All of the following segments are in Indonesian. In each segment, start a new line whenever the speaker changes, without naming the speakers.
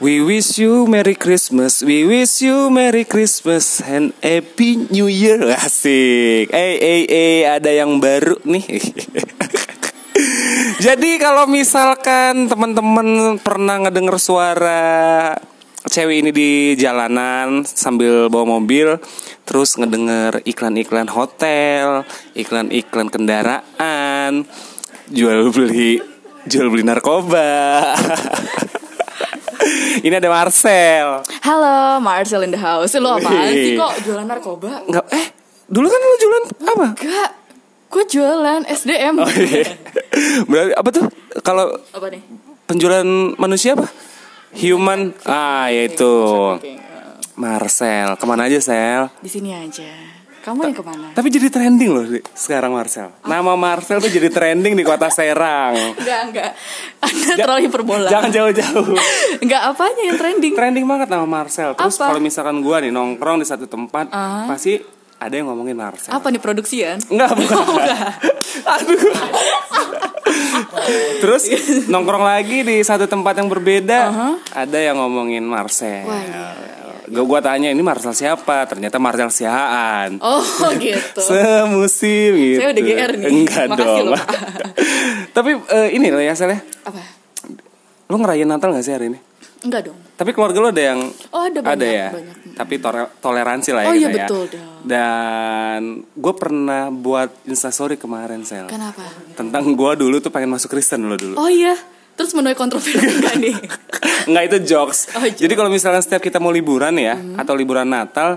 We wish you Merry Christmas, we wish you Merry Christmas and Happy New Year. Asik. Eh, eh, eh, ada yang baru nih. Jadi kalau misalkan teman-teman pernah ngedenger suara cewek ini di jalanan sambil bawa mobil, terus ngedenger iklan-iklan hotel, iklan-iklan kendaraan, jual beli jual beli narkoba. ini ada Marcel.
Halo, Marcel in the house. Lu apaan sih kok jualan narkoba?
Nggak, eh, dulu kan lu jualan apa?
Enggak. Gue jualan SDM.
Oh, iya. Berarti apa tuh? Kalau
Apa nih?
penjualan manusia apa? Human, ah yaitu
Shopping, eh,
Marcel. Kemana aja Sel?
Di sini aja. Kamu yang kemana?
Tapi jadi trending loh Li, sekarang Marcel. Nama Marcel tuh jadi trending di kota Serang.
Enggak, enggak. Anda terlalu hiperbola.
Jangan jauh-jauh.
Enggak apanya yang trending.
Trending banget nama Marcel. Terus
Apa?
kalau misalkan gua nih nongkrong di satu tempat, pasti ada yang ngomongin Marcel.
Apa nih produksian?
Enggak, bukan.
Oh,
Aduh. Terus nongkrong lagi di satu tempat yang berbeda, ada yang ngomongin Marcel.
Uh-huh. Wah, iya,
Gue gua tanya ini Marcel siapa? Ternyata Marcel Sihaan.
Oh, gitu.
Semusim gitu.
Saya udah GR nih.
Enggak
Makasih
dong.
loh, Pak.
Tapi eh, ini loh ya Sel ya.
Apa?
Lu ngerayain Natal gak sih hari ini?
Enggak dong.
Tapi keluarga lu ada yang
Oh, ada banyak,
ya.
banyak.
Tapi tore- toleransi lah ya
Oh, iya,
kita ya.
betul dong.
Dan gue pernah buat instastory kemarin Sel.
Kenapa?
Tentang gue dulu tuh pengen masuk Kristen lo dulu.
Oh iya. Terus menuai kontroversi enggak nih?
Enggak itu jokes.
Oh, jokes. Hmm.
Jadi kalau misalnya setiap kita mau liburan ya atau liburan Natal,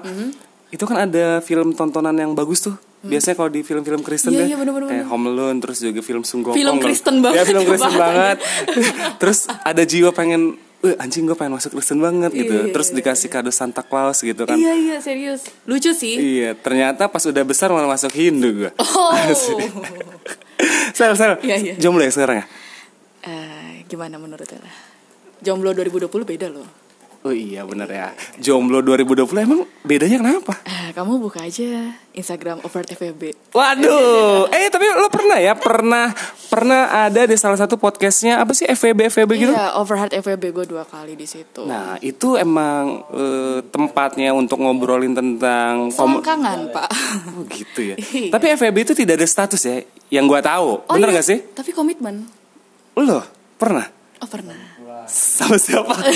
itu kan ada film tontonan yang bagus tuh. Biasanya kalau di film-film Kristen
Hmm. Iya,
deh,
iya, bener-bener.
kayak Home Alone, terus juga film Sunggokong.
Film
loh.
Kristen
Ya
banget,
film
ya,
Kristen banget.
banget.
terus ada jiwa pengen, "Eh, anjing gue pengen masuk Kristen banget gitu.
Iya, iya,
terus
iya.
dikasih kado Santa Claus gitu kan.
iya, iya, serius. Lucu sih.
Iya, ternyata pas udah besar malah masuk Hindu gue.
Oh.
Sel, sel,
Iya, iya.
jomblo ya sekarang ya?
Eh, gimana menurut Ella? Jomblo 2020 beda loh.
Oh iya bener ya Jomblo 2020 emang bedanya kenapa?
Eh, kamu buka aja Instagram Overt FVB.
Waduh, eh tapi lo pernah ya pernah pernah ada di salah satu podcastnya apa sih FVB FVB gitu?
Iya, Overheart FVB gue dua kali di situ.
Nah itu emang eh, tempatnya untuk ngobrolin tentang komu-
Selangkangan, Pak.
Oh, gitu ya.
Iya.
Tapi FVB itu tidak ada status ya, yang gua tahu.
Oh,
Bener
iya,
gak sih?
Tapi komitmen.
Lo pernah
Oh, pernah.
sama siapa?
Eh,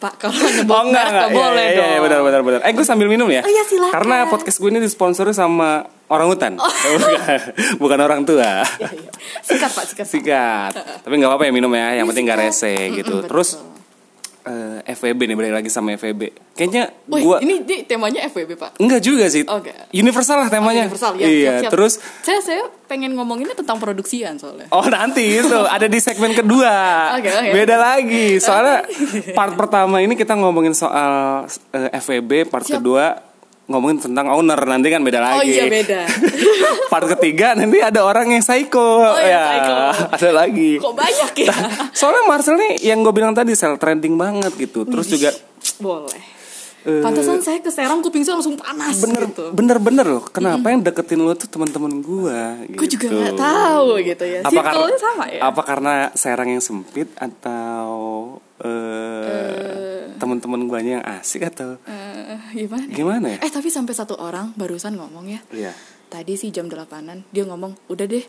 Pak, kalau nyebut
Oh, enggak, enggak.
merek nggak boleh
iya, iya,
dong.
iya, benar, benar, benar. Eh, gue sambil minum ya.
Oh, iya, silakan. Oh.
Karena podcast gue ini disponsori sama orang hutan, bukan, bukan orang tua.
Iya, Sikat, Pak, sikat. Pak.
Sikat. Tapi nggak apa-apa ya minum ya. Yang penting nggak
Iya, sikat.
rese
Mm-mm,
gitu.
betul.
Terus eh, FVB nih balik lagi sama FVB. Kayaknya
Wih,
gue
ini, ini temanya FVB, Pak.
Enggak juga sih.
Oke.
Universal lah temanya.
Universal,
iya,
ya, siap, siap.
terus
saya saya pengen ngomonginnya tentang produksian soalnya.
Oh nanti itu ada di segmen kedua
Oke, oke.
Beda lagi Soalnya part pertama ini kita ngomongin soal eh, FVB Part
Siap.
kedua ngomongin tentang owner Nanti kan beda lagi
Oh iya beda.
part ketiga nanti ada orang yang psycho Ya,
Oh, yang psycho.
Ada lagi
Kok banyak ya?
Soalnya Marcel nih yang gue bilang tadi sel trending banget gitu Terus juga
boleh.
eh,
Pantesan saya ke Serang kuping saya langsung panas
bener
gitu.
bener-bener loh Kenapa yang deketin lo tuh teman-teman gue
Gue juga nggak tahu gitu ya.
apa karena
Circle-nya sama ya.
apa karena serang yang sempit atau eh teman-teman guanya yang asik atau
Eh, gimana?
Gimana ya?
Eh tapi sampai satu orang barusan ngomong ya.
Iya.
Tadi sih jam 8-an dia ngomong, "Udah deh,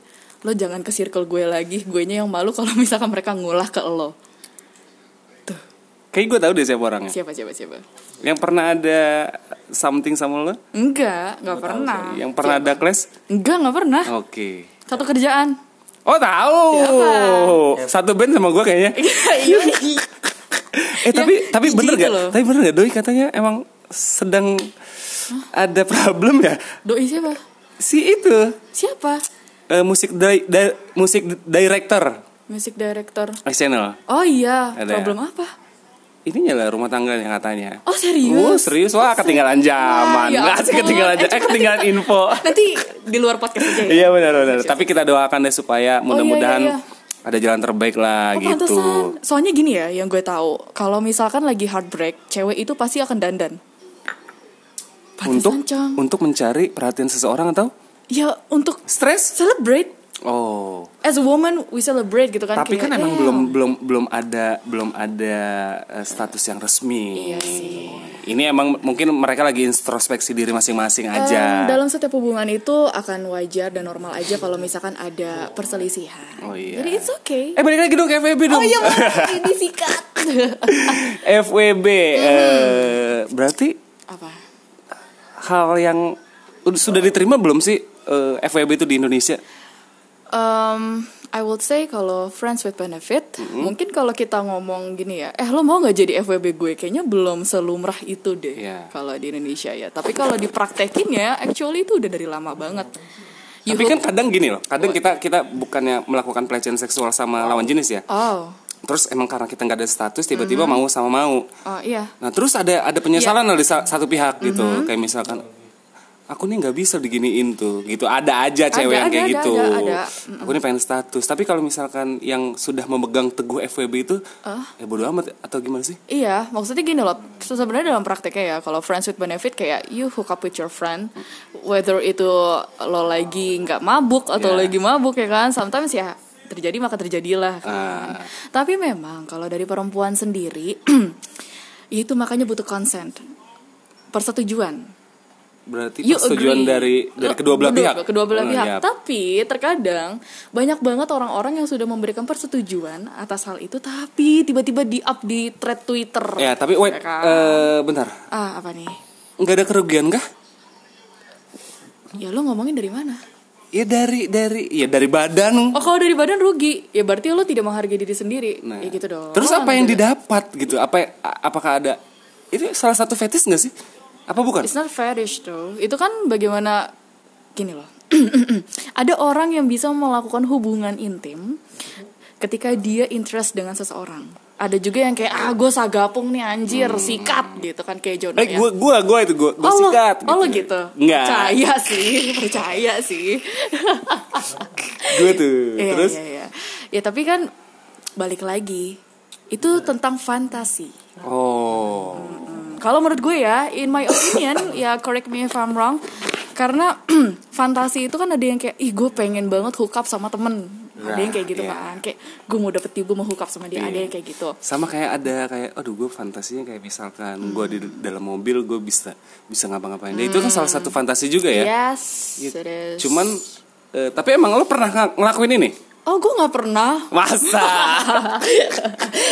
lo jangan ke circle gue lagi. Guenya yang malu kalau misalkan mereka ngulah ke lo."
kayak gue tahu deh siapa orangnya
Siapa siapa siapa?
yang pernah ada something sama lo
Enggak, nggak pernah.
yang pernah Oh. ada clash
Enggak, nggak pernah.
oke
Satu kerjaan.
oh tahu satu band sama gue kayaknya
Iya.
eh tapi tapi
gitu
bener gak
loh.
tapi bener gak doi katanya emang sedang ada problem ya
Doi siapa?
si itu
Siapa?
eh, musik di- di- musik director
Music director.
channel
Oh iya,
Ada ya?
problem apa?
Ininya lah rumah tangga yang katanya.
Oh, serius?
Oh serius wah ketinggalan zaman.
ya
Nggak sih
ampun.
ketinggalan zaman.
Eh,
Eh ketinggalan info.
Nanti di luar podcast aja ya.
Iya benar benar. Tapi kita doakan deh supaya mudah-mudahan
iya, iya.
ada jalan terbaik lah
Oh,
gitu.
pantesan. Soalnya gini ya, yang gue tahu, kalau misalkan lagi heartbreak, cewek itu pasti akan dandan. Pantesan,
Untuk
Cong.
untuk mencari perhatian seseorang atau
ya untuk
stres?
celebrate.
Oh.
as a woman we celebrate gitu kan
Tapi
kayak,
kan emang
"Yeah."
belum belum belum ada belum ada eh, status yang resmi.
Iya sih.
Ini emang mungkin mereka lagi introspeksi diri masing-masing aja.
Em, Eh, dalam setiap hubungan itu akan wajar dan normal aja kalau misalkan ada perselisihan.
Oh, iya.
Jadi it's okay.
Eh balik lagi dong ke FWB dong.
Oh iya, maaf, ini sikat.
FWB eh, berarti
Apa?
hal yang ud- sudah diterima belum sih eh, FWB itu di Indonesia?
Um, I would say kalau friends with benefit,
Mm-hmm.
mungkin kalau kita ngomong gini ya, eh lo mau nggak jadi FWB gue? Kayaknya belum selumrah itu deh
Iya.
kalau di Indonesia ya. Tapi kalau dipraktekin ya, actually itu udah dari lama banget. You
Tapi kan
hope-
kadang gini loh, kadang kita kita bukannya melakukan pelecehan seksual sama lawan jenis ya.
oh,
Terus emang karena kita nggak ada status tiba-tiba mau sama mau.
oh iya.
Nah terus ada ada penyesalan dari sa- satu pihak gitu,
Mm-hmm.
kayak misalkan aku nih nggak bisa diginiin tuh, gitu. Ada aja cewek
Ada,
yang kayak
ada,
gitu.
ada, ada.
Aku nih pengen status, tapi kalau misalkan yang sudah memegang teguh FWB itu,
Eh?
ya bodo amat atau gimana sih?
Iya, maksudnya gini loh. So, Sebenarnya dalam prakteknya ya, kalau friends with benefit kayak you hook up with your friend, whether itu lo lagi nggak mabuk atau
Yeah.
lagi mabuk ya kan, sometimes ya terjadi maka terjadilah. Kan.
Ah.
Tapi memang kalau dari perempuan sendiri, itu makanya butuh consent, persetujuan.
Berarti
You
persetujuan
agree.
dari dari
Lo-
kedua belah pihak.
Kedua
Oh,
belah pihak.
iya.
Tapi terkadang banyak banget orang-orang yang sudah memberikan persetujuan atas hal itu, tapi tiba-tiba di up di thread Twitter.
Ya, tapi wait,
Ya kan?
eh, bentar.
Ah, apa nih?
Nggak ada kerugian kah?
Ya lo ngomongin dari mana?
Ya dari dari ya dari badan.
Oh, kalau dari badan rugi, ya berarti lo tidak menghargai diri sendiri.
Nah.
Ya gitu dong.
Terus
Lo
apa yang
nggak-
didapat gitu? Apa apakah ada itu salah satu fetis nggak sih? Apa bukan?
It's not fetish though. Itu kan bagaimana gini loh. Ada orang yang bisa melakukan hubungan intim ketika dia interest dengan seseorang. Ada juga yang kayak ah gue sagapung nih anjir
Hmm.
sikat gitu kan kayak Jono
Eh
ya.
gue gue gue itu gue gue
oh, lo-
sikat.
oh, lo gitu.
Nggak.
Percaya sih, percaya sih.
Gue tuh.
Iya,
Terus
iya, iya. Ya tapi kan balik lagi itu tentang fantasi.
oh
Hmm, Kalau menurut gue ya, in my opinion, ya correct me if I'm wrong, karena fantasi itu kan ada yang kayak, ih gue pengen banget hook up sama temen, ada yang kayak gitu
Nah,
kan, kayak gue mau dapet dia, gue mau hook up sama dia, ada
Iya.
yang kayak gitu.
sama kayak ada kayak aduh gue fantasinya kayak misalkan gue di
Hmm.
dalam mobil gue bisa bisa ngapa-ngapain. Nah, Itu kan salah satu fantasi juga ya.
Yes,
Gitu.
it is.
Cuman eh, tapi emang lo pernah ng- ngelakuin ini?
oh gue nggak pernah,
Masa?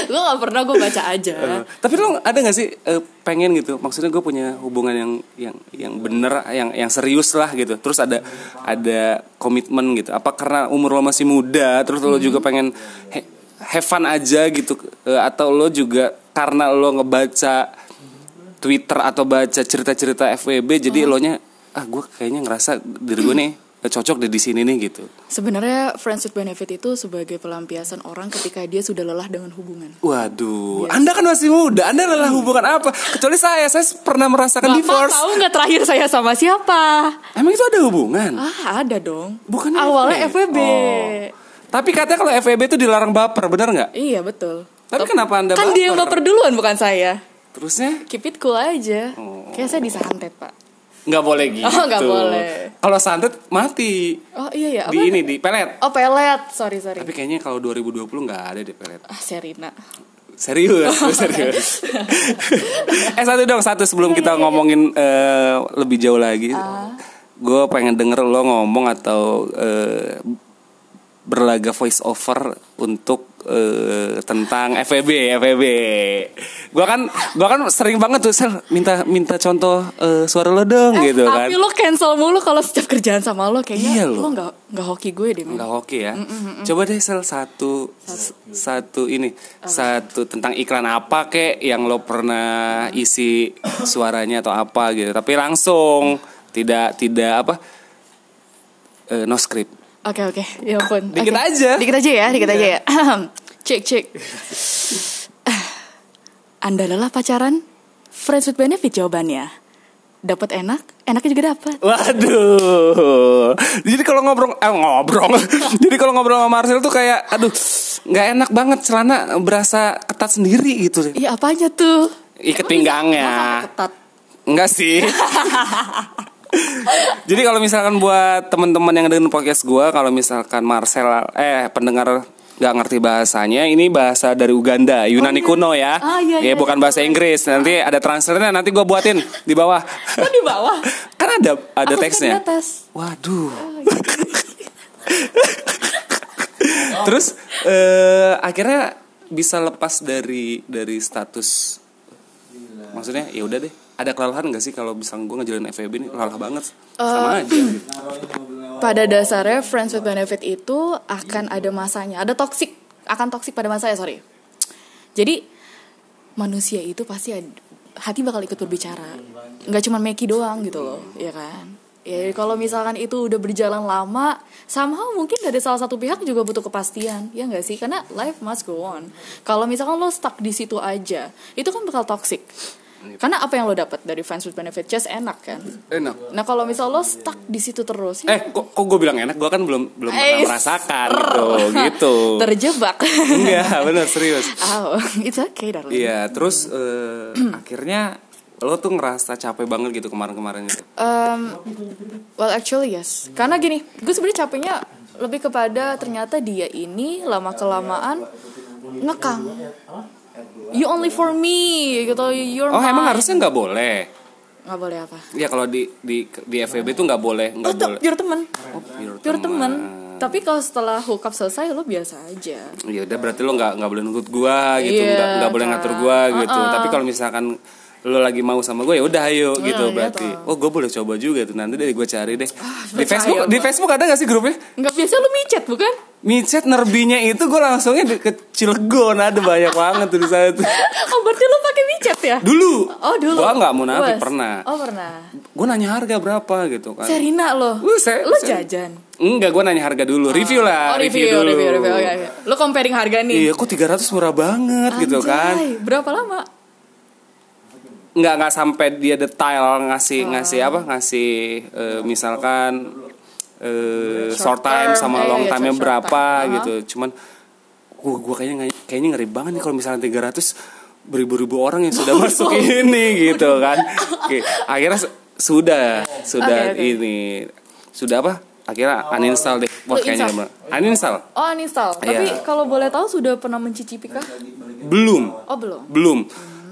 gue nggak pernah, gue baca aja.
Eh, tapi lo ada gak sih eh, pengen gitu? Maksudnya gue punya hubungan yang yang yang bener, yang yang serius lah gitu. Terus ada ada komitmen gitu. Apa karena umur lo masih muda? Terus lo juga pengen he, have fun aja gitu? Eh, atau lo juga karena lo ngebaca Twitter atau baca cerita-cerita FWB, jadi lo nya ah gue kayaknya ngerasa diri gue nih eh, cocok deh di sini nih gitu.
Sebenarnya friends with benefit itu sebagai pelampiasan orang ketika dia sudah lelah dengan hubungan.
Waduh,
Iya.
Anda kan masih muda, Anda lelah hubungan apa? Kecuali saya, saya pernah merasakan
Bapak
Kan divorce.
tahu nggak terakhir saya sama siapa?
Emang itu ada hubungan?
Ah ada dong.
Bukan Oh.
awalnya FWB.
Tapi katanya kalau FWB itu dilarang baper, benar nggak?
Iya betul.
Tapi kenapa Anda
kan dia yang baper duluan bukan saya.
Terusnya
Keep it cool aja.
Oh.
Kayak saya disantet pak.
nggak boleh gitu.
Oh, nggak boleh.
Kalau santet mati
Oh iya ya.
di ini di pelet.
Oh pelet. Sorry sorry.
Tapi kayaknya kalau 2020 nggak ada di pelet.
Ah Serina.
Serius,
Oh,
gua serius. eh satu dong, satu sebelum
Iya,
kita ngomongin eh, lebih jauh lagi.
Ah.
Gue pengen denger lo ngomong atau eh, berlaga voice over untuk eh, tentang FEB, FEB. Gua kan gua kan sering banget tuh sel minta minta contoh eh, suara lo dong gitu
eh,
kan.
Tapi lo cancel mulu kalau setiap kerjaan sama lo kayaknya
Iya,
lo
lo.
nggak nggak hoki gue deh. men.
Enggak oke ya. Coba deh sel satu s- satu ini satu tentang iklan apa kek yang lo pernah isi suaranya atau apa gitu. Tapi langsung tidak tidak apa eh, no script.
Oke oke. Ya ampun.
Dikit
Oke.
aja. Iya.
Dikit aja ya. Dikit aja ya. cek cek. Eh, Anda lelah pacaran? Friends with benefit jawabannya. Dapat enak, enaknya juga dapat.
Waduh. Jadi kalau ngobrol eh, ngobrol. Jadi kalau ngobrol sama Marcel tuh kayak aduh nggak enak banget celana berasa ketat sendiri gitu deh.
Iya apanya tuh?
Iket
Emang bisa- masa
pinggangnya.
ketat.
Enggak sih. Jadi kalau misalkan buat teman-teman yang dengerin podcast gua kalau misalkan Marcel eh pendengar nggak ngerti bahasanya, ini bahasa dari Uganda, Yunani kuno ya.
Oh, Ah, iya,
ya
iya,
bukan
iya.
bahasa Inggris. Nanti ada transfernya nanti gua buatin di bawah.
Kok di bawah?
kan ada ada
Aku
teksnya.
suka di atas.
Waduh. Terus eh, akhirnya bisa lepas dari dari status maksudnya ya udah deh ada kelelahan gak sih kalau misalnya gue ngejalan FEB ini lelah banget sama aja gitu.
Pada dasarnya friends with benefit itu akan ada masanya, ada toxic, akan toxic pada masa ya sorry. Jadi manusia itu pasti ad- hati bakal ikut berbicara, nggak cuma Meki doang gitu loh, ya kan? Ya kalau misalkan itu udah berjalan lama, somehow mungkin dari salah satu pihak juga butuh kepastian, ya nggak sih? Karena life must go on. Kalau misalkan lo stuck di situ aja, itu kan bakal toxic. Karena apa yang lo dapat dari friends with benefit just enak kan?
enak
Nah kalau misal lo stuck di situ terus, ya
eh kok kok gue bilang enak gue kan belum belum pernah
Eh,
merasakan gitu gitu
terjebak.
enggak bener serius
Oh, it's okay darling.
iya terus eh, akhirnya lo tuh ngerasa capek banget gitu kemarin-kemarin gitu
Um, well actually yes. Karena gini, gue sebenarnya capeknya lebih kepada ternyata dia ini lama kelamaan ngekang. You only for me gitu. You're
oh emang
mine.
harusnya nggak boleh
nggak boleh apa?
ya kalau di di di FEB tuh nggak boleh nggak
Tetep
boleh
pure temen,
oh, pure
pure temen. Tapi kalau setelah hookup selesai lo biasa aja.
ya udah berarti lo nggak nggak boleh nuntut gua gitu
Iya,
nggak nggak boleh
kan.
ngatur gua gitu tapi kalau misalkan lo lagi mau sama gue ya udah ayo gitu
iya Ah,
berarti oh gue boleh coba juga tuh nanti deh gue cari deh di
percaya
Facebook di
gua.
Facebook ada gak sih grupnya
Nggak biasa lo micet bukan?
micet nerbinya itu gue langsungnya di- ke Cilegon ada banyak banget tuh di sana tuh
Oh berarti lo pakai micet ya?
dulu
Oh dulu.
gue nggak mau nanti
Was.
pernah
Oh pernah.
gue nanya harga berapa gitu kan
Serina lo.
Lu se-
Lo
se-
jajan.
Enggak, gue nanya harga dulu review lah
Oh review,
review, dulu
review, review. Oke, oke. Lo comparing harga
iya
nih.
kok 300 murah banget gitu kan
Anjay, Berapa lama?
nggak nggak sampai dia detail ngasih ngasih apa ngasih eh, misalkan eh, short
Short
time
term,
sama
iya,
long
iya,
time-nya
short- short
berapa
time.
gitu cuman gua gua kayaknya nggak- kayaknya ngeri banget nih kalau misalnya 300 beribu-ribu orang yang sudah masuk ini gitu kan Oke, akhirnya su- sudah sudah
Oke, oke.
ini sudah apa akhirnya uninstall deh wah
Lu
kayaknya
install?
uninstall
Oh uninstall. Tapi
Iya.
kalau boleh tahu sudah pernah mencicipi kah?
belum
Oh belum.
belum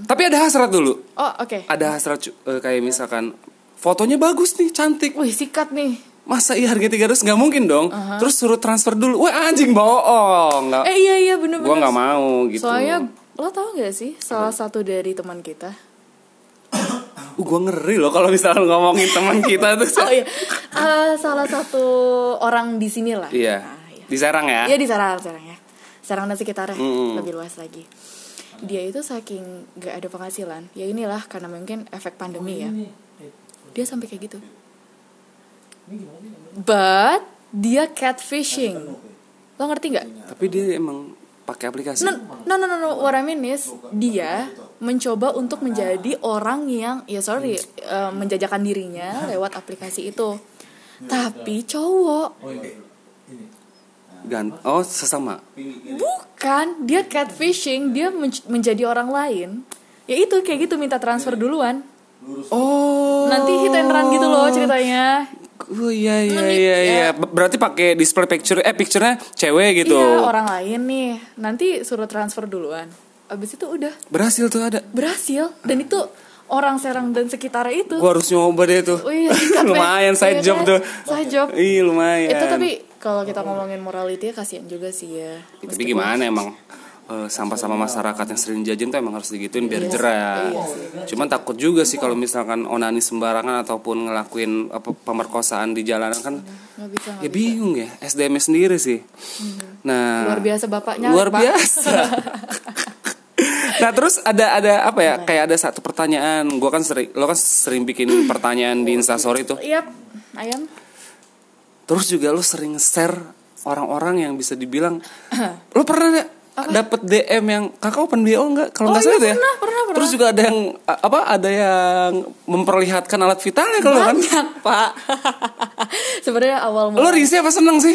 tapi ada hasrat dulu
Oh oke.
ada hasrat cu- eh, kayak misalkan fotonya bagus nih cantik
Wih sikat nih.
masa iya harga 300 nggak mungkin dong terus suruh transfer dulu wah anjing bohong nggak
Eh iya iya
gua
bener-bener.
nggak mau gitu
Soalnya lo tau gak sih salah satu dari teman kita?
uh, gua ngeri loh kalau misalnya ngomongin teman kita tuh
Oh iya. Eh, salah satu orang di sini lah.
iya
Ah, iya.
diserang ya
Iya di Serang Serang ya Serang dan sekitarnya
Mm.
lebih luas lagi dia itu saking gak ada penghasilan ya inilah karena mungkin efek pandemi ya dia sampai kayak gitu but dia catfishing lo ngerti nggak
tapi dia emang pakai aplikasi
no, no no no no what I mean is dia mencoba untuk menjadi orang yang ya sorry eh, menjajakan dirinya lewat aplikasi itu tapi cowok
Gan- oh sesama
Bukan, dia catfishing, dia men- menjadi orang lain. Ya itu kayak gitu minta transfer duluan.
oh
Nanti hit and run gitu loh ceritanya.
oh iya iya iya, iya. Ber- berarti pakai display picture eh picturenya cewek gitu
Iya, orang lain nih. Nanti suruh transfer duluan. Abis itu udah
berhasil tuh ada
berhasil dan itu orang Serang dan sekitarnya itu.
gua harus nyoba deh tuh
Oh iya, sikat, Pe.
lumayan side
Iya
job
kan?
tuh
Side job.
Ih lumayan.
Itu tapi kalau kita ngomongin morality kasihan juga sih ya.
Ya, tapi gimana emang eh, sampah-sampah
Iya.
masyarakat yang sering jajan tuh emang harus digituin biar jerah. Cuman takut juga sih kalau misalkan onani sembarangan ataupun ngelakuin apa pemerkosaan di jalanan kan
Nggak bisa.
ya bingung ya SDM sendiri sih. Nah,
Hmm. Luar biasa bapaknya.
luar
Pak.
biasa. nah terus ada ada apa ya kayak ada satu pertanyaan gua kan sering lo kan sering bikin pertanyaan di instastory tuh
Yap, ayam.
Terus juga lu sering share orang-orang yang bisa dibilang lu pernah nggak dapet DM yang kakak open BO nggak kalau
Oh,
nggak salah
iya,
tuh ya
pernah, pernah, pernah.
terus juga ada yang a- apa ada yang memperlihatkan alat vitalnya kalau kan
Banyak, Pak. Sebenarnya awal mula
lo risih apa seneng sih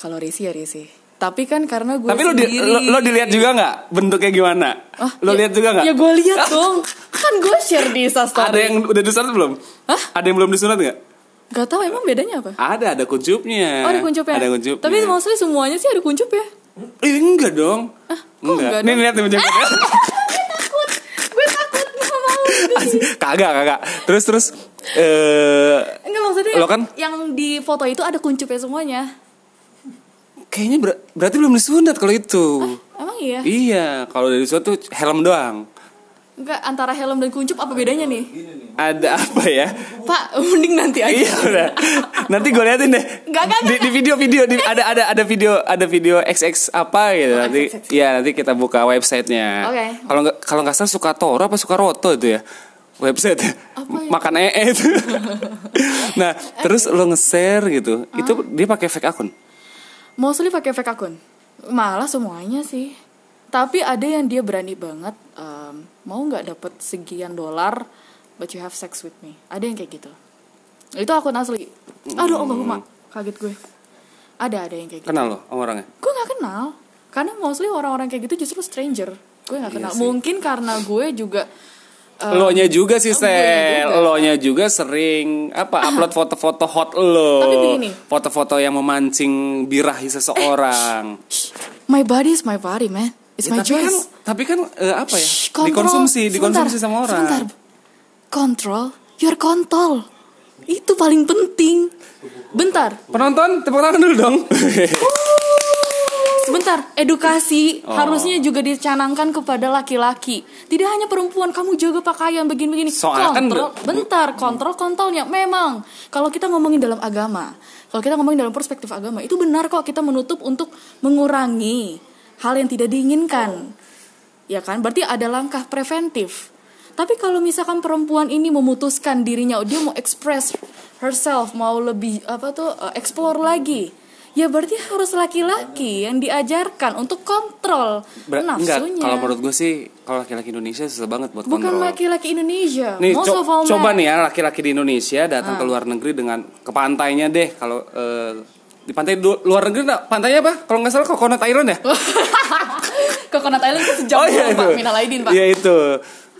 Kalau Risi ya Risi. Tapi kan karena gue
tapi lo, di-
sendiri.
lo, lo dilihat juga nggak bentuknya gimana
Ah,
lo
ya-
lihat juga nggak Ah,
Ya gue lihat dong. Kan kan gue share di
Ada
instastory
yang udah disunat belum?
Hah?
Ada yang belum disunat nggak?
Gak tahu emang bedanya apa?
Ada, ada kuncupnya.
Oh ada kuncupnya?
Eh, Ada iya. kuncupnya.
Tapi maksudnya semuanya sih ada kuncup ya?
Eh, enggak dong.
kok enggak
Nih
dong?
lihat nih menjaga.
Gue takut gak mau
Kagak, kagak. Terus terus eh
Enggak maksudnya
Lo kan-
yang di foto itu ada kuncupnya semuanya
kayaknya ber- berarti belum disunat kalau itu.
Emang iya?
Iya, kalau dari disunat tuh helm doang.
Enggak antara helm dan kuncup apa bedanya nih?
Ada apa ya?
Pak mending nanti aja
iya udah. Nanti gue liatin deh.
Enggak, enggak,
Di, di video-video di- ada ada ada video ada video XX apa
Oh,
gitu nanti. Iya, nanti kita buka websitenya
Oke.
Kalau nggak kalau nggak salah suka Toro apa suka Roto itu ya. Website
Apa ya?
makan ee itu. nah, terus lo nge-share gitu. Itu
Ah.
dia pakai fake akun.
Mostly pakai fake akun Malah semuanya sih Tapi ada yang dia berani banget em, Mau nggak dapet sekian dolar But you have sex with me Ada yang kayak gitu Itu akun asli
Hmm.
Aduh Allahumma Kaget gue Ada-ada yang kayak gitu
Kenal lo sama orangnya?
gue nggak kenal karena mostly orang-orang kayak gitu justru stranger gue nggak
Iya
kenal
sih.
mungkin karena gue juga eh,
lo nya juga sih
oh, gue
Sel
juga. Ah.
lo nya juga sering apa upload foto-foto hot
Tapi
lo
begini.
foto-foto yang memancing birahi seseorang
"Shh, my body is my body man it's
Ya,
my
tapi kan
choice
tapi kan eh, apa ya
Eh, Shh, kontrol.
dikonsumsi
Sebentar,
dikonsumsi sama orang
sebentar. kontrol your kontol itu paling penting bentar
penonton tepuk tangan dulu dong
sebentar edukasi
Oh.
harusnya juga dicanangkan kepada laki-laki tidak hanya perempuan kamu jaga pakaian begini-begini
Soalnya kan
kontrol
be-
bentar
iya.
kontrol kontolnya memang kalau kita ngomongin dalam agama kalau kita ngomongin dalam perspektif agama itu benar kok kita menutup untuk mengurangi hal yang tidak diinginkan
Oh.
ya kan berarti ada langkah preventif tapi kalau misalkan perempuan ini memutuskan dirinya oh, dia mau express herself mau lebih apa tuh uh, explore lagi ya berarti harus laki-laki yang diajarkan untuk kontrol
Ber- enggak
nafsunya
kalau menurut gue sih kalau laki-laki Indonesia susah banget buat
bukan
kontrol
laki-laki Indonesia
Nih,
Most
co-
of all men. Ah.
coba nih ya laki-laki di Indonesia datang ke luar negeri dengan ke pantainya deh kalau eh, di pantai du- luar negeri nah, pantainya apa kalau nggak salah Coconut Island ya
Coconut Island itu sejam doang, Pak Minal Aidin Pak
Oh, Iya itu.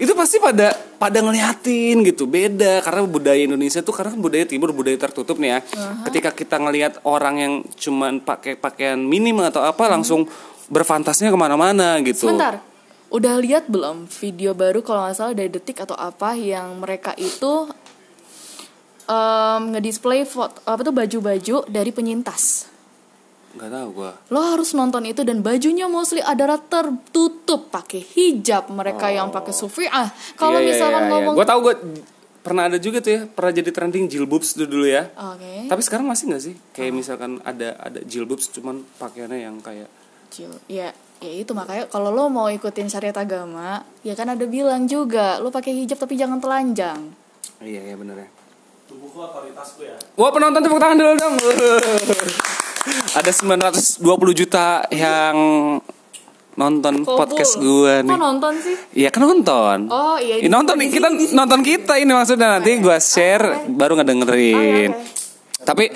Itu pasti pada pada ngeliatin gitu. Beda karena budaya Indonesia tuh karena kan budaya timur budaya tertutup nih ya.
Uh-huh.
Ketika kita ngelihat orang yang cuman pakai pakaian minim atau apa langsung berfantasinya kemana-mana gitu.
Hmm. Sebentar, udah lihat belum video baru kalau nggak salah dari detik atau apa yang mereka itu em, ngedisplay foto apa tuh baju-baju dari penyintas.
Gak tahu gua.
Lo harus nonton itu dan bajunya mostly adalah tertutup pakai hijab mereka yang pakai sufiah. Kalau
Oh. Iya, iya,
misalkan
iya, iya.
ngomong
Gua tahu gua pernah ada juga tuh ya, pernah jadi trending jilbobs dulu, dulu ya.
Oke.
Tapi sekarang masih nggak sih?
Ah.
Kayak misalkan ada ada jilbobs cuman pakaiannya yang kayak
Cil- Ya, ya itu makanya kalau lo mau ikutin syariat agama, ya kan ada bilang juga lo pakai hijab tapi jangan telanjang.
Iya, iya bener ya. Tubuhku otoritasku ya. Wah, penonton tepuk tangan dulu dong. Ada 920 juta yang nonton
Kobul.
podcast gua nih.
Kok nonton sih?
Iya kan nonton.
Oh, iya,
Ih,
di-
nonton
di-
kita nonton kita ini maksudnya nanti gua share baru ngedengerin.
Oh, iya, oke.
Tapi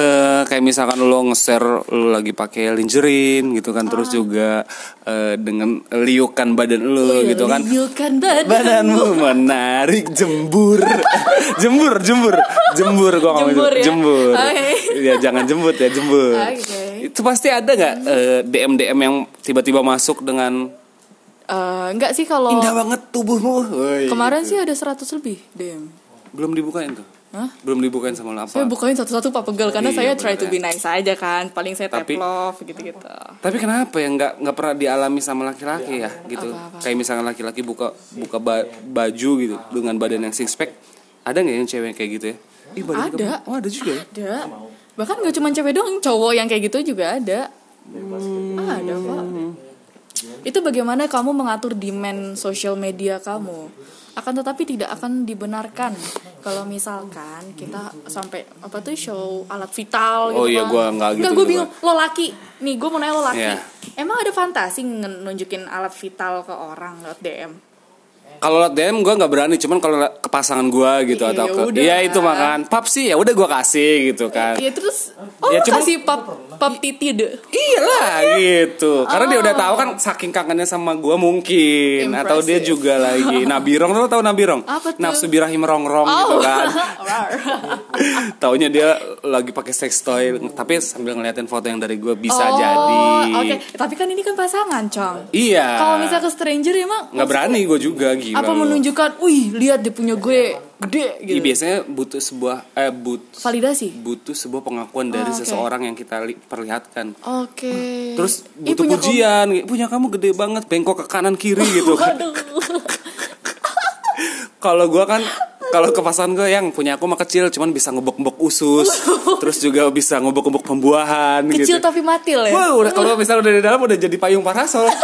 eh, kayak misalkan lo nge-share lo lagi pakai lingerie gitu kan
Ah.
terus juga eh, dengan liukan badan lo
Iya,
gitu kan.
Liukan badan.
Badanmu menarik jembur. jembur, jembur. Jembur gua nggak mau
Jembur ya?
jembur.
Oke.
Ya jangan jembut ya, jembur.
Oke.
Itu pasti ada nggak eh, DM DM yang tiba-tiba masuk dengan
Eh, enggak sih kalau
indah banget tubuhmu. Woi.
kemarin sih ada 100 lebih DM.
belum dibukain tuh.
Hah?
Belum dibukain sama lo apa?
Saya bukain satu-satu Pak Pegel
Iya,
karena saya try
bener
to
ya.
be nice aja kan. Paling saya
Tapi-
tapi, love gitu-gitu.
Tapi kenapa ya nggak nggak pernah dialami sama laki-laki
Iya.
ya gitu?
Apa-apa.
Kayak misalkan laki-laki buka buka ba- baju gitu dengan badan yang six pack, ada nggak yang cewek kayak gitu ya? Ih, badan
Ada.
kamu- Oh ada juga. ya?
Ada. Bahkan gak cuma cewek doang, cowok yang kayak gitu juga ada. Hmm. Ah, Ada Pak. Itu bagaimana kamu mengatur demand sosial media kamu. Akan tetapi tidak akan dibenarkan kalau misalkan kita sampai apa tuh show alat vital gitu.
Oh iya,
Pak.
gua nggak gitu
Nggak, gua
juga.
bingung. Lo laki. Nih, gue mau nanya lo laki.
Iya.
Emang ada fantasi nge- nunjukin alat vital ke orang lewat DM?
kalau lewat DM gue nggak berani, cuman kalau ke pasangan gue gitu
Iya,
atau ke
yaudah.
Iya itu makan pap sih ya udah gue kasih gitu kan.
Ya terus oh
Ya,
lu
cuma- Iya,
kasih pap pap titi deh.
Iyalah gitu. Karena dia udah tahu kan saking kangennya sama gua mungkin atau dia
Impressive.
juga lagi nabirong lo tau nabirong?
Apa tuh?
Nafsu birahi merongrong gitu kan.
Oh. Rar.
Taunya dia lagi pakai sex toy tapi sambil ngeliatin foto yang dari gua bisa
Oh,
jadi.
Oke, tapi kan ini kan pasangan, Cong.
Iya.
Kalau misal ke stranger emang
nggak berani gua juga gila.
apa
lu.
menunjukkan, "Wih, lihat dia punya gue gede"
Iya,
gitu.
biasanya butuh sebuah eh butuh
Validasi.
butuh sebuah pengakuan dari
Oh, oke.
seseorang yang kita li- perlihatkan.
Oke.
Terus butuh
Ih,
ya.
punya
pujian, kayak, punya kamu gede banget, bengkok ke kanan kiri gitu.
kamu- Aduh.
Kalau gua kan kalau ke pasangan gue yang punya aku mah kecil cuman bisa ngebok-ngebok usus, terus juga bisa ngebok-ngebok pembuahan gitu.
Kecil tapi matil ya.
Wah, udah kalau misalnya udah di dalam udah jadi payung parasol.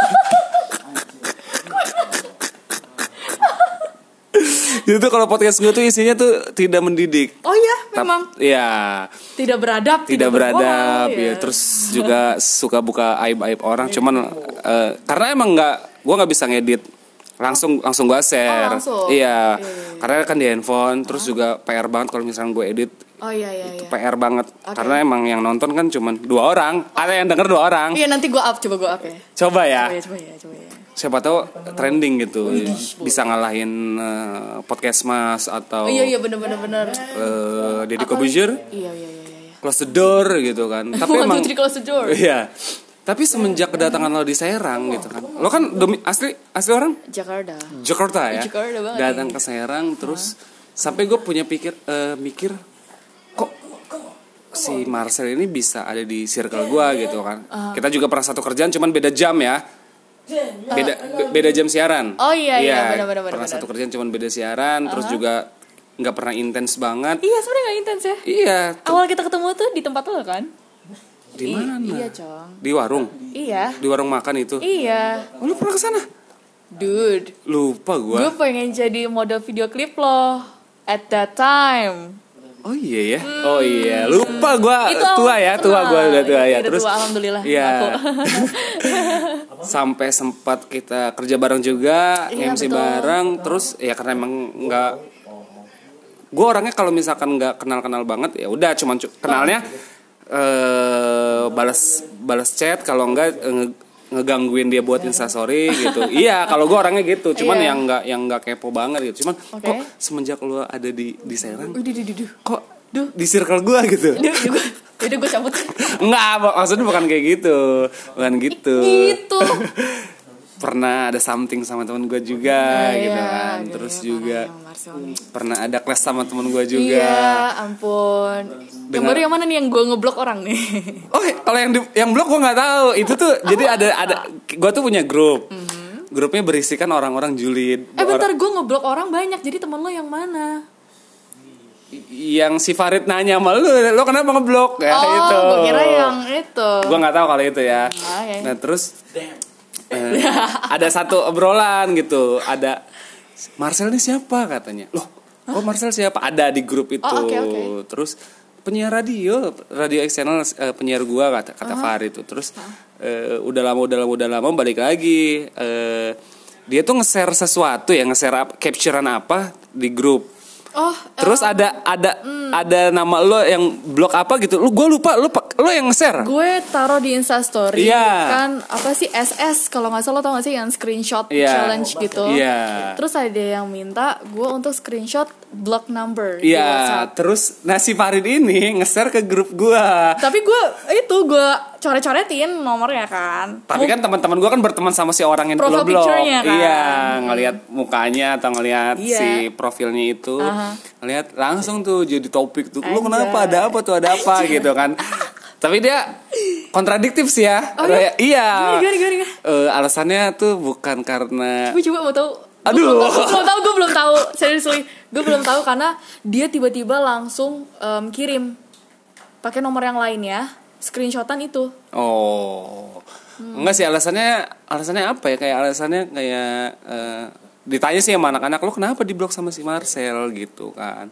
Jadi tuh kalau podcast gue tuh isinya tuh tidak mendidik.
Oh iya,
Tap-
memang
Iya,
tidak beradab,
tidak beradab
berbohong,
ya.
Iya.
Terus juga suka buka aib-aib orang cuman eh, karena emang nggak gua nggak bisa ngedit langsung langsung gua share.
Oh, langsung.
Iya. Karena kan di handphone terus juga PR banget kalau misalnya gue edit
Oh iya iya iya.
PR banget karena emang yang nonton kan cuman dua orang, ada yang denger dua orang.
Iya nanti gue up coba gue up ya.
Coba ya.
Coba ya coba ya coba ya.
Siapa tahu trending gitu. Bisa ngalahin eh, podcast Mas atau
Oh, iya iya bener bener bener.
eh, Deddy Corbuzier
Iya iya iya iya.
close the door gitu kan. Tapi
One,
emang
two, three, close the door.
Iya. Tapi semenjak kedatangan lo di Serang gitu kan. Lo kan domi- asli asli orang
Jakarta.
Jakarta ya.
Jakarta banget.
Datang ke Serang terus sampai gue punya pikir eh, mikir kok si Marcel ini bisa ada di circle gue gitu kan.
Ah.
Kita juga pernah satu kerjaan cuman beda jam ya. Beda be- beda jam siaran.
Oh, iya, iya, benar, benar,
Pernah
benar,
satu kerjaan cuman beda siaran
Ah.
terus juga nggak pernah intens banget.
Iya sebenarnya gak intens ya.
Iya,
Awal kita ketemu tuh di tempat lo kan?
di mana?
Iya cong.
Di warung.
Iya.
Di warung makan itu.
Iya.
Oh, lu pernah ke sana?
Dude,
Lupa gua.
gue pengen jadi model video klip lo at that time.
Oh iya ya. Oh iya, lupa gua
Hmm. Itu awal
tua ya, tua
kenal.
gua udah tua
Iya,
ya.
udah
Terus
tua, alhamdulillah,
Iya.
aku.
Sampai sempat kita kerja bareng juga,
Iya,
MC
betul.
bareng, terus ya karena emang nggak gua orangnya kalau misalkan nggak kenal-kenal banget ya udah cuman cu- kenalnya eh balas balas chat kalau enggak ngegangguin dia buat instastory gitu iya kalau gua orangnya gitu cuman
Iya.
yang nggak yang nggak kepo banget gitu cuman
Oke.
kok semenjak lu ada di di Serang
Udah, duh, duh, duh.
kok di circle gua gitu
Duh, duh, gue- Yaudah gue cabut
Enggak, mak- maksudnya bukan kayak gitu Bukan gitu
Gitu
Pernah ada something sama temen gue juga
Iya,
gitu kan
aduh,
Terus
parah
juga
yang Marcel nih.
pernah ada kelas sama temen gue juga
Iya ampun Yang
Dengar-
baru yang mana nih yang gue ngeblok orang nih Eh,
Oh kalau yang di- yang blog gue gak tahu Itu tuh jadi ada ada Gue tuh punya grup Grupnya berisikan orang-orang julid
Mhm. Eh
Or-
bentar gue ngeblok orang banyak Jadi temen lo yang mana
Yang si Farid nanya sama lu Lo kenapa ngeblok ya
Oh
itu
gue kira yang itu
gue nggak tahu kalau itu ya
Ah, ya.
nah terus eh, ada satu obrolan gitu ada Marcel ini siapa katanya loh oh Marcel siapa ada di grup itu
Oh, oke, oke.
terus penyiar radio radio eksternal eh, penyiar gua kata kata Farid itu terus eh, udah lama udah lama udah lama balik lagi eh, dia tuh nge-share sesuatu ya nge-share apa- capturean apa di grup
Oh Hmm.
terus ada ada ada nama lo yang blog apa gitu lu gue lupa lu pak- lo yang nge-share
Gue taruh di instastory
Iya.
Kan apa sih SS Kalau gak salah tau gak sih yang screenshot
Iya.
challenge gitu
Iya.
Terus ada yang minta gue untuk screenshot block number di WhatsApp.
Iya, terus nasi Farid ini nge-share ke grup gua.
Tapi gue itu gue coret-coretin nomornya kan.
Tapi kan teman-teman gua kan berteman sama si orang yang
Profile
lo blok.
picture-nya kan.
Iya, ngelihat mukanya atau ngelihat
Iya.
si profilnya itu. Ngelihat langsung tuh jadi topik tuh. Lu
Anjay.
kenapa? Ada apa tuh? Ada apa gitu kan. Tapi dia kontradiktif sih ya.
Oh, iya?
Iya.
Gimana, gimana, gimana, gimana?
Eh, alasannya tuh bukan karena
Gue coba mau tahu.
Aduh.
Gue belum tahu, gue belum tahu. Seriously, gue belum tahu karena dia tiba-tiba langsung em, kirim pakai nomor yang lainnya, screenshotan itu.
Oh, enggak sih alasannya alasannya apa ya? Kayak alasannya kayak eh, ditanya sih sama anak-anak lo kenapa diblok sama si Marcel gitu kan?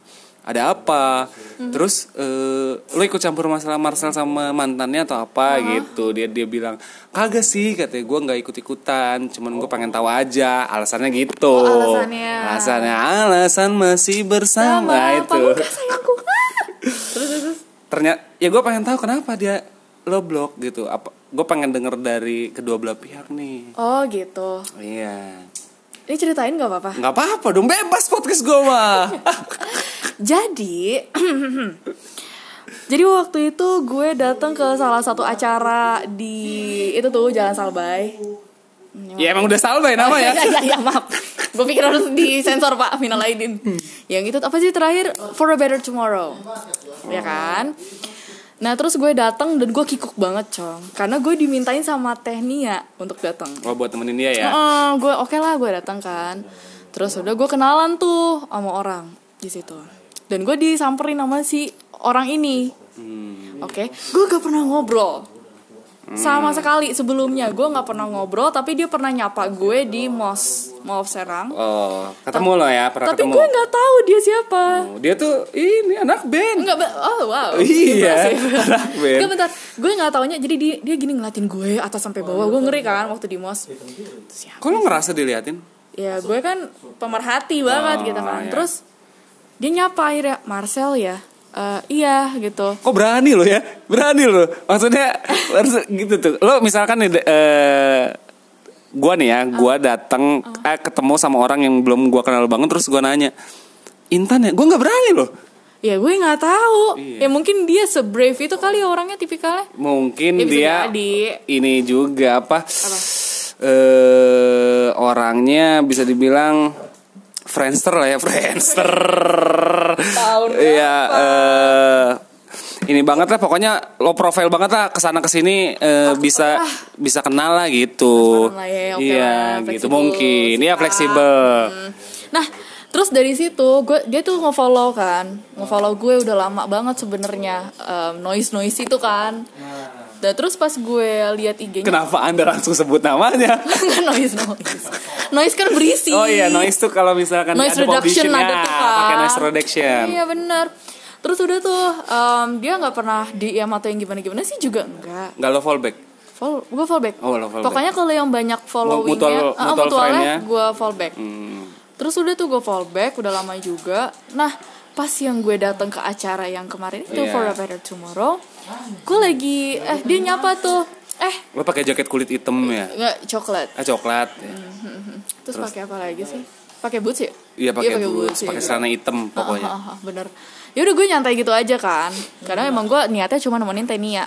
ada apa
Hmm.
terus eh, lo ikut campur masalah Marcel sama mantannya atau apa gitu dia dia bilang kagak sih katanya gue nggak ikut ikutan cuman gue pengen tahu aja alasannya gitu
Oh, alasannya.
alasannya alasan masih bersama Nah, itu
Pamungkas sayangku. terus terus, terus.
ternyata ya gue pengen tahu kenapa dia lo blok gitu apa gue pengen denger dari kedua belah pihak nih
oh gitu
iya
ini ceritain gak apa-apa
nggak apa-apa dong bebas podcast gue mah
Jadi Jadi waktu itu gue datang ke salah satu acara di itu tuh Jalan Salbay.
ya emang udah salbay nama ya
ya, ya, maaf. Gue pikir harus disensor Pak Minal Aidin. Yang itu apa sih terakhir For a Better Tomorrow. Ya kan? Nah, terus gue datang dan gue kikuk banget, Cong. Karena gue dimintain sama Tehnia untuk datang.
Oh buat temenin dia ya
Heeh, gue oke lah gue datang kan. Terus udah gue kenalan tuh sama orang di situ. Dan gue disamperin sama si orang ini.
Hmm.
Oke, gue gak pernah ngobrol sama
Hmm.
sekali sebelumnya gue nggak pernah ngobrol tapi dia pernah nyapa gue di mos mall Serang
Oh, ketemu lo ya, pernah
tapi
ketemu.
gue nggak tahu dia siapa
Oh, Dia tuh ini anak band.
Enggak, oh wow.
Iya,
Impressive.
anak band.
Enggak bentar, gue nggak taunya. Jadi dia, dia gini ngeliatin gue atas sampai bawah. Gue ngeri kan waktu di mos. ya Siapa?
Kok lo ngerasa diliatin?
ya gue kan pemerhati banget
Oh,
gitu kan
iya.
terus dia nyapa akhirnya Marcel ya Eh, iya gitu
Kok berani lo ya? Berani lo. Maksudnya harus gitu tuh. Lo misalkan nih de- eh gua nih ya, gua datang eh, ketemu sama orang yang belum gua kenal banget terus gua nanya. Intan ya, gua nggak berani loh.
ya gue nggak tahu
Iya.
ya mungkin dia sebrave itu kali ya orangnya tipikalnya
Mungkin
Ya, bisa
dia
jadi.
ini juga apa? Eh orangnya bisa dibilang friendster lah ya, friendster.
Tahun
Iya, eh ini banget lah pokoknya lo profile banget lah kesana kesini eh, bisa bisa kenal lah gitu.
Transparan lah ya, oke
iya
lah,
gitu
fleksibel,
mungkin. Iya
suka.
fleksibel.
nah terus dari situ gue dia tuh ngefollow kan ngefollow gue udah lama banget sebenarnya noise noise itu kan
Nah.
dan terus pas gue lihat IG-nya
Kenapa anda langsung sebut namanya?
nggak noise noise noise kan berisi
Oh iya noise tuh kalau misalkan
noise
Kan ada
reduction
audition,
ada
ya,
tuh kan
pakai noise reduction.
iya benar terus udah tuh em, dia nggak pernah DM atau yang gimana gimana sih juga enggak
Nggak lo fallback.
follow gue fallback
Oh, lo fallback.
pokoknya kalau yang banyak
Mutual-
followingnya ah,
mutual friend-nya.
mutualnya gue fallback
Hmm.
terus udah tuh gue fallback udah lama juga nah pas yang gue datang ke acara yang kemarin itu
Iya.
for a better tomorrow gue lagi eh dia nyapa tuh eh
Lo pakai jaket kulit hitam ya?
nggak coklat
Ah coklat. ya.
Hmm. terus, pakai apa lagi sih pakai boots ya
Iya pakai
boots,
boots,
iya.
pakai celana hitam pokoknya.
Ah, ah, ah, bener ya udah gue nyantai gitu aja kan
Hmm.
karena emang gue niatnya cuma nemenin Tania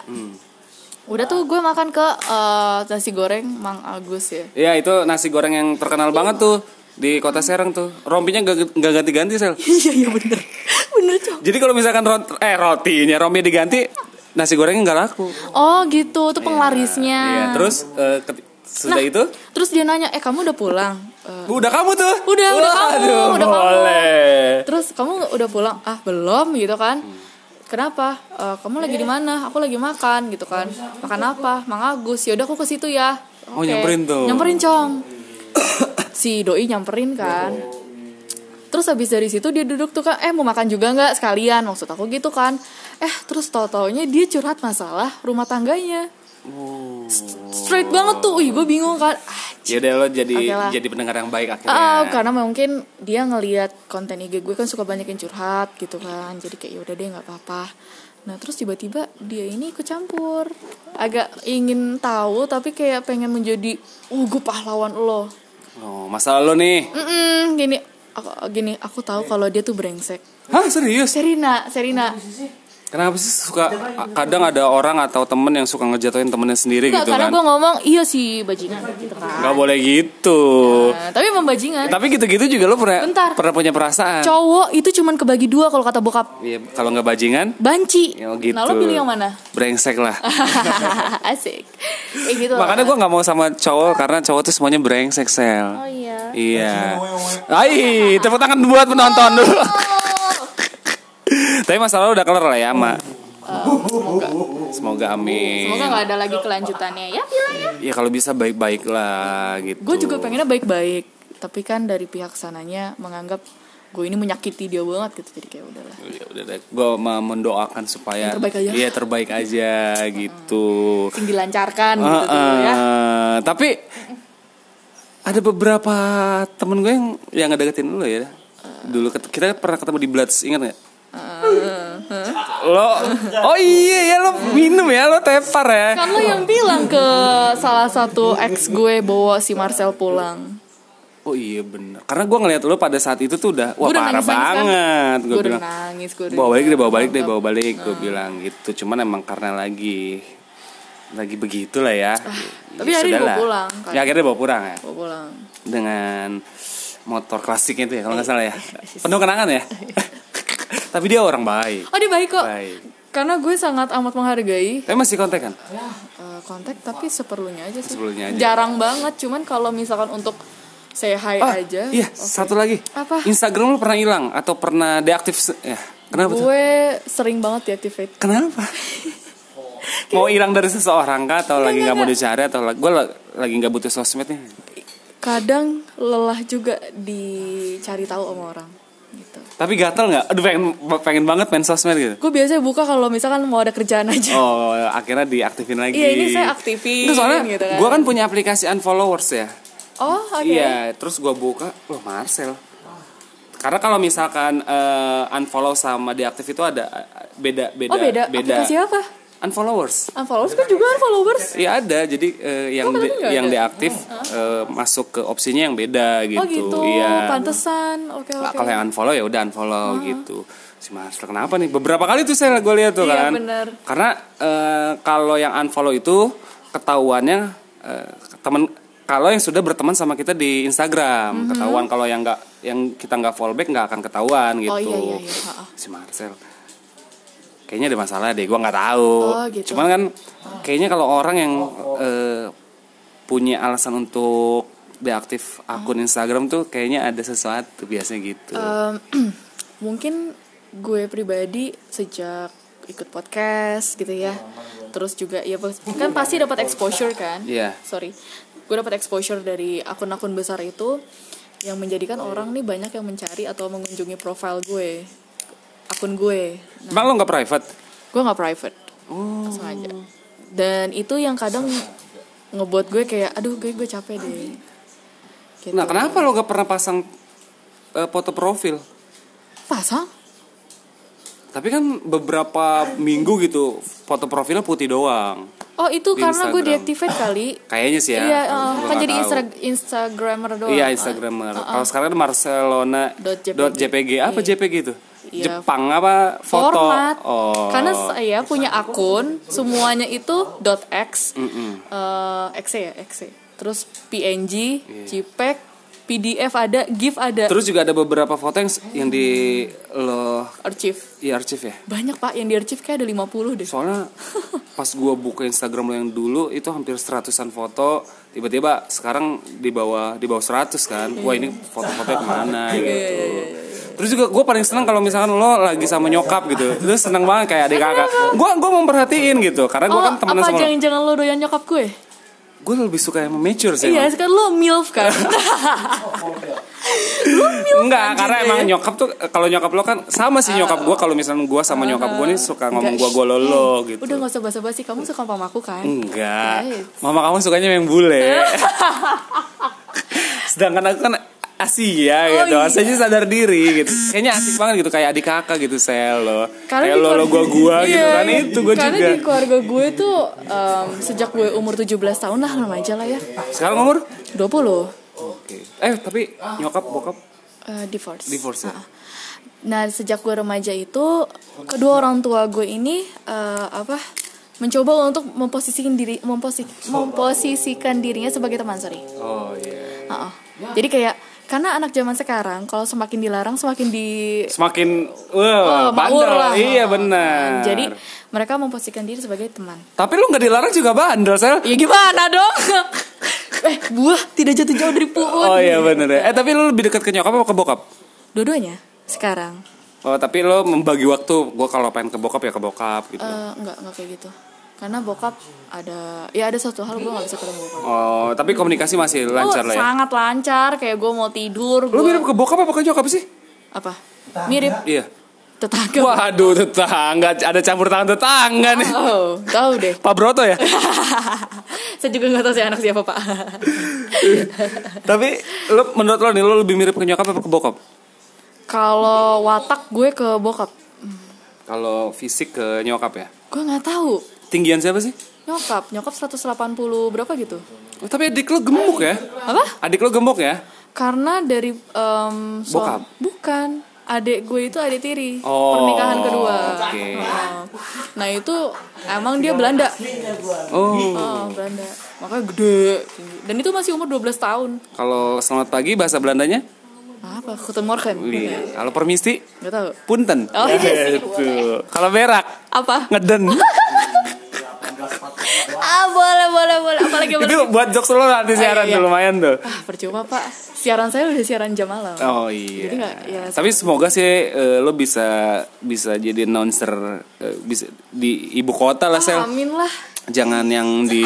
udah tuh gue makan ke eh, nasi goreng Mang Agus ya
Iya itu nasi goreng yang terkenal banget tuh di Kota Serang tuh. Rompinya gak, gak ganti-ganti sel.
iya iya bener bener cok
Jadi kalau misalkan rot- eh rotinya rompinya diganti, nasi gorengnya nggak laku.
oh gitu tuh penglarisnya Nah,
Iya terus eh, keti- sudah itu
terus dia nanya eh kamu udah pulang Eh,
udah kamu tuh.
Udah, udah kamu,
Waduh,
udah kamu.
boleh.
terus kamu udah pulang ah belum gitu kan
Hmm.
kenapa Eh, kamu lagi di mana aku lagi makan gitu kan makan apa mang Agus yaudah aku ke situ ya
Oh,
Oke.
nyamperin tuh. Hmm.
nyamperin cong si doi nyamperin kan terus habis dari situ dia duduk tuh kan eh mau makan juga nggak sekalian maksud aku gitu kan eh terus tau taunya dia curhat masalah rumah tangganya
Oh.
straight banget tuh, ih gue bingung kan, ah,
Ya udah lo jadi
Oke lah.
jadi pendengar yang baik akhirnya.
Ah, karena mungkin dia ngelihat konten IG gue kan suka banyak yang curhat gitu kan. Jadi kayak ya udah deh nggak apa-apa. Nah, terus tiba-tiba dia ini ikut campur. Agak ingin tahu tapi kayak pengen menjadi uh gue pahlawan lo.
Oh, masalah lo nih.
Mm-mm, gini aku gini aku tahu kalau dia tuh brengsek.
Hah serius?
Serina, Serina.
Gitu Kenapa sih suka kadang ada orang atau temen yang suka ngejatuhin temennya sendiri
Enggak,
gitu
karena
kan?
gue ngomong iya sih bajingan gitu kan.
Gak boleh gitu.
Nah, tapi emang bajingan.
Tapi gitu-gitu juga lo pernah
Bentar.
pernah punya perasaan.
Cowok itu cuman kebagi dua kalau kata bokap.
Iya, kalau nggak bajingan,
Banci.
ya gitu.
Nah, lo pilih yang mana?
Brengsek lah.
Asik. Eh gitu. lah.
Makanya gue nggak mau sama cowok karena cowok tuh semuanya brengsek sel.
Oh iya.
Iya. Ai, tepuk tangan buat penonton dulu. Tapi masalah lo udah kelar lah ya, Mak. Semoga
Oh. Semoga
amin.
nggak ada lagi kelanjutannya ya.
Ya kalau bisa baik-baik lah gitu.
Gue juga pengennya baik-baik, tapi kan dari pihak sananya menganggap gue ini menyakiti dia banget gitu jadi kayak udahlah
Ya udah deh, gue mendoakan supaya
Yang terbaik aja.
Iya, terbaik aja gitu.
Sing dilancarkan gitu tuh
Heeh.
ya
Tapi ada beberapa temen gue yang yang ngedeketin lo ya. Dulu ket- kita pernah ketemu di Bloods, ingat nggak? Lo, oh iya ya lo minum ya lo tepar ya.
kan lo yang bilang ke salah satu ex gue bawa si Marcel pulang
Oh iya bener Karena gue ngeliat lo pada saat itu tuh udah Wah
Gua udah
parah
nangis-nangis kan?
banget Gue
Gua udah
bilang
nangis, gua udah
Bawa balik deh bawa balik deh
nangkep.
bawa balik Gue
Ah.
bilang gitu Cuman emang karena lagi Lagi begitulah ya
Ah, tapi akhirnya
Sudahlah.
dibawa pulang kan?
Ya akhirnya bawa pulang ya
bawa pulang
Dengan motor klasiknya itu ya Kalau nggak salah ya
Iya,
Penuh kenangan ya Tapi dia orang baik
oh dia baik kok
Baik
karena gue sangat amat menghargai
Tapi masih kontak kan?
eh, kontak tapi seperlunya aja sih
Seperlunya aja.
jarang banget cuman kalau misalkan untuk say hi
Ah,
aja oh,
Iya satu lagi
Apa?
Instagram lo pernah hilang Atau pernah deaktif se- ya, Kenapa
Oh.
tuh?
gue sering banget deactivate
Kenapa? mau hilang dari seseorang kah atau lagi nggak mau dicari atau lagi gue lagi nggak butuh sosmed nih?
kadang lelah juga dicari tahu sama orang gitu
Tapi gatel nggak? Aduh pengen pengen banget main sosmed gitu.
gue biasanya buka kalau misalkan mau ada kerjaan aja
Oh akhirnya diaktifin lagi.
Iya, ini saya
Nggak,
aktifin,
Oh, soalnya
gitu kan.
gue kan punya aplikasi unfollowers ya.
oh oke
Iya terus gue buka, wah Marcel. Karena kalau misalkan eh, unfollow sama deaktif itu ada eh, beda beda
oh beda, aplikasi apa
unfollowers.
unfollowers kan juga unfollowers
Iya ada, jadi eh, yang
kenapa
de-
nggak
yang
ada?
deaktif eh, masuk ke opsinya yang beda gitu.
ya? oh gitu
Iya.
pantesan oke
Lah,
oke Ah.
Kalau yang unfollow ya udah unfollow gitu. Si Marcel kenapa nih? Beberapa kali tuh saya gue lihat tuh
Iya,
kan.
bener.
Karena eh, kalau yang unfollow itu ketahuannya eh, teman kalau yang sudah berteman sama kita di Instagram
Mhm.
ketahuan kalau yang nggak yang kita nggak follow back nggak akan ketahuan gitu.
oh iya iya iya ha, ha.
Si Marcel kayaknya ada masalah deh gue nggak tahu
Oh, gitu.
cuman kan kayaknya kalau orang yang eh, punya alasan untuk deaktif akun Instagram tuh kayaknya ada sesuatu biasanya gitu
Em, mungkin gue pribadi sejak ikut podcast gitu ya terus juga ya pas- kan pasti dapat exposure kan
Iya.
sorry gue dapat exposure dari akun-akun besar itu yang menjadikan orang nih banyak yang mencari atau mengunjungi profile gue akun gue
emang lo nggak private
gue nggak private
Oh.
sengaja dan itu yang kadang ngebuat gue kayak aduh gue gue capek deh gitu.
nah kenapa lo nggak pernah pasang eh, foto profil
pasang
tapi kan beberapa minggu gitu foto profilnya putih doang
oh itu
Di
karena gue
Instagram.
deactivate kali
kayaknya sih ya
Iya, eh,
Gua
kan
nggak
jadi
tahu.
Instra- instagramer doang. Eh,
Iya Instagramer. Kalau sekarang kan Barcelona
Dot JPG.
dot JPG apa JPG itu?
Iya.
Jepang apa foto?
Format.
Oh.
Karena saya punya akun semuanya itu .x, eh, .exe ya, .exe. Terus PNG, JPEG, PDF ada, GIF ada,
Iya. Terus juga ada beberapa foto yang yang di lo
archive.
di arsip ya.
Banyak Pak yang di archive kayak ada 50 deh.
Soalnya pas gua buka Instagram lo yang dulu itu hampir seratusan foto, tiba-tiba sekarang di bawah di bawah 100 kan. Wah, ini foto-foto kemana
Iya,
gitu. Terus juga gue paling seneng kalau misalkan lo lagi sama nyokap gitu Terus seneng banget kayak adik kakak Gue gua memperhatiin gitu Karena gue
Oh,
kan temenan
apa
sama lo
jangan-jangan lo doyan nyokap gue?
gue lebih suka yang mature sih
Iya,
emang.
sekarang lo MILF kan.
enggak karena
juga ya. Ah.
emang nyokap tuh kalau nyokap lo kan sama sih nyokap gue kalau misalnya gue sama nyokap gue nih suka ngomong
Enggak, eh,
gue gue lolo gitu
Udah gak usah basa-basi, kamu suka sama aku kan?
enggak
Guys.
mama kamu sukanya yang bule sedangkan aku kan Asia gitu
iya.
Saya sih sadar diri gitu Kayaknya asik banget gitu Kayak adik kakak gitu saya lo
karena
Kayak
di
lo lo gue
keluarga-
gue gitu
Iya,
kan
iya.
Itu gue
karena
juga
di keluarga gue tuh em, sejak gue umur 17 tahun lah remaja lah ya
Sekarang umur?
20 puluh eh,
Eh tapi nyokap bokap
divorce
divorce ya?
nah sejak gue remaja itu kedua orang tua gue ini eh, apa mencoba untuk memposisikan diri memposi- memposisikan dirinya sebagai teman sorry
Oh iya
Heeh. jadi kayak karena anak zaman sekarang kalau semakin dilarang semakin di
Semakin Wah
Oh,
bandel
maur lah.
Iya
Heeh.
benar
jadi mereka memposisikan diri sebagai teman
Tapi lu nggak dilarang juga bandel, sel.
Ya gimana dong? eh, buah tidak jatuh jauh dari puun.
Oh iya bener ya. Eh tapi lu lebih dekat ke nyokap apa ke bokap?
Dua-duanya sekarang.
Oh tapi lu membagi waktu. Gua kalau pengen ke bokap ya ke bokap gitu.
Eh, enggak, enggak kayak gitu. Karena bokap ada ya ada satu hal gue gak bisa ketemu bokap.
Oh, tapi komunikasi masih
Gue
lancar lah ya.
sangat lancar kayak gue mau tidur
Lu
gua-
mirip ke bokap apa ke nyokap sih?
apa mirip
Iya.
tetangga
Waduh tetangga, ada campur tangan tetangga nih.
oh tahu deh
Pak Broto ya.
saya juga nggak tahu si anak siapa pak
Tapi lu menurut lo nih lo lebih mirip ke nyokap apa ke bokap?
kalau watak gue ke bokap
Kalau fisik ke nyokap ya.
gue nggak tahu
Tinggian siapa sih?
nyokap nyokap 180 berapa gitu
Oh, tapi adik lo gemuk ya?
apa
Adik lo gemuk ya?
karena dari em, so-
Bokap?
bukan adik gue itu adik tiri
Oh,
pernikahan kedua
oke.
Oh. nah itu emang dia Belanda
Oh.
oh, Belanda makanya gede dan itu masih umur 12 tahun
Kalau selamat pagi bahasa Belandanya?
apa Guten Morgen
Iya. Kalau permisi,
nggak tahu
punten.
Oh, iya sih. Iya,
Gitu. Kalau berak,
apa
ngeden.
ah boleh boleh boleh apalagi apalagi
Itu buat jokes lo nanti siaran tuh
iya.
lumayan tuh.
ah percuma pak siaran saya udah siaran jam malam
Oh iya.
Jadi nggak- ya,
Tapi semoga sih eh, lo bisa bisa jadi announcer eh, bisa di ibu kota lah sel.
amin lah
Jangan yang di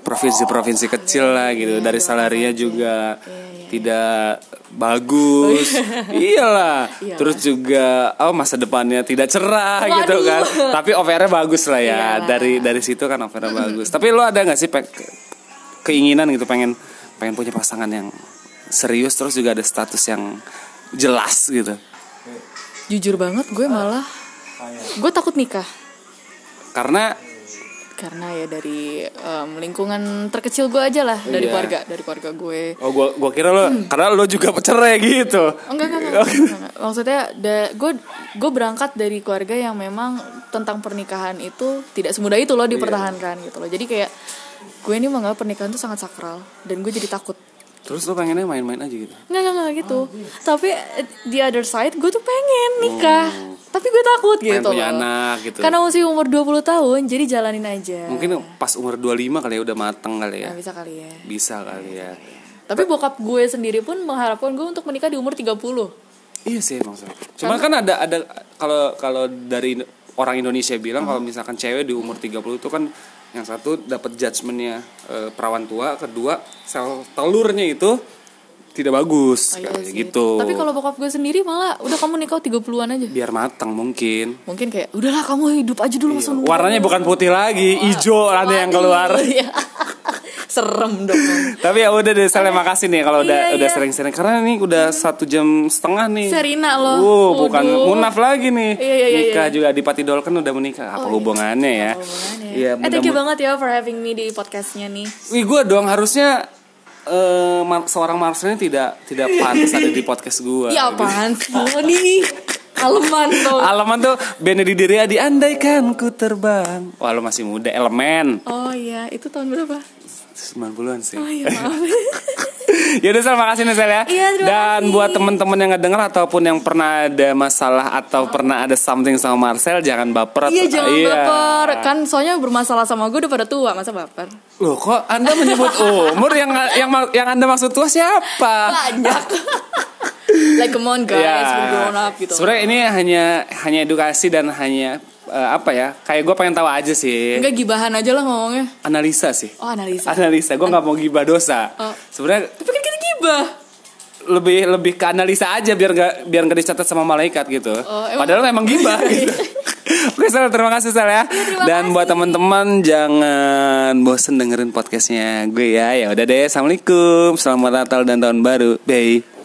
provinsi-provinsi kecil lah
Iya,
gitu. Dari salarinya juga tidak bagus. Iyalah. Terus juga oh masa depannya tidak cerah
Iya. Waduh.
gitu kan. Tapi offernya bagus lah ya.
Iyalah.
Dari dari situ kan offernya bagus. Tapi lo ada nggak sih pe- keinginan gitu pengen pengen punya pasangan yang serius terus juga ada status yang jelas gitu.
jujur banget gue malah
Ah, iya.
gue takut nikah
Karena
karena ya dari em, lingkungan terkecil gue aja lah
Iya.
dari keluarga dari keluarga gue
oh
Oh,
gua gua kira lo karena lo juga cerai gitu.
Hmm. enggak enggak, enggak, enggak, enggak. maksudnya da- gue gue berangkat dari keluarga yang memang tentang pernikahan itu tidak semudah itu loh
Iya.
dipertahankan gitu loh jadi kayak gue ini menganggap pernikahan itu sangat sakral dan gue jadi takut
Terus lo pengennya main-main aja gitu.
Nggak, nggak, nggak gitu Tapi eh, the other side gue tuh pengen nikah Tapi gue takut
Oh. Pengen
gitu
punya
loh.
anak gitu. Oh, iya.
Karena masih umur 20 tahun jadi jalanin aja
Mungkin pas umur 25 kali ya udah mateng kali ya.
Nah, bisa kali ya
Bisa kali ya.
Tapi bokap gue sendiri pun mengharapkan gue untuk menikah di umur 30
Iya sih emang Sel. Cuman kan ada ada kalau kalau dari orang Indonesia bilang kalau
Hmm.
misalkan cewek di umur 30 itu kan yang satu dapat judgementnya eh, perawan tua, kedua sel telurnya itu tidak bagus
Oh, iya
kayak
sih.
gitu.
Tapi kalau bokap gue sendiri malah udah kamu nikah 30-an aja
biar matang mungkin.
Mungkin kayak udahlah kamu hidup aja dulu Oh, langsung
Iya, Warnanya bukan putih lagi, hijau nanti yang keluar.
Iya. Serem dong
Tapi ya udah deh, saya makasih nih kalau udah
Iya,
udah
iya.
sering-sering karena nih udah satu jam setengah nih.
Serina loh.
Uh, bukan
Waduh.
munaf lagi nih.
Iya, iya, iya,
Nikah
iya.
juga Adipati Dolken kan udah menikah. Apa
Oh, iya.
hubungannya ya?
Hubungannya.
Iya,
eh thank you
mudah-mudahan-
banget ya for having me di podcastnya nih
Wih, gue dong harusnya eh, mar- seorang Marcelnya tidak tidak pantas ada di podcast gue.
Ya apaan sih lo nih Aleman tuh
Alaman tuh Benedi diri di andaikan ku terbang. Wah, lo masih muda elemen.
Oh iya itu tahun berapa?
90-an sih.
Oh iya maaf
Yaudah Sel, makasih nih Sel ya
Iya, terima
Dan
kasih.
buat teman-teman yang ngedenger Ataupun yang pernah ada masalah Atau pernah ada something sama Marcel Jangan baper
Iya
atau-
jangan
Iya.
baper Kan soalnya bermasalah sama gue udah pada tua Masa baper?
Loh kok Anda menyebut umur yang, yang yang Anda maksud tua siapa? Iya.
Banyak Like come on guys We're grown up gitu
Sebenarnya ini hanya hanya edukasi dan hanya eh, apa ya? Kayak gue pengen tahu aja sih.
Enggak gibahan aja lah ngomongnya
Analisa sih.
Oh analisa
Analisa. Gue nggak mau gibah dosa.
Oh.
Sebenarnya
Tapi kan kita gibah
lebih lebih ke analisa aja biar nggak biar nggak dicatat sama malaikat gitu.
Oh, emang-
Padahal memang gibah gitu. Oke, Sel, terima kasih Sel ya. Dan buat teman-teman jangan bosen dengerin podcastnya gue ya. Ya udah deh, assalamualaikum, selamat Natal dan tahun baru. Bye.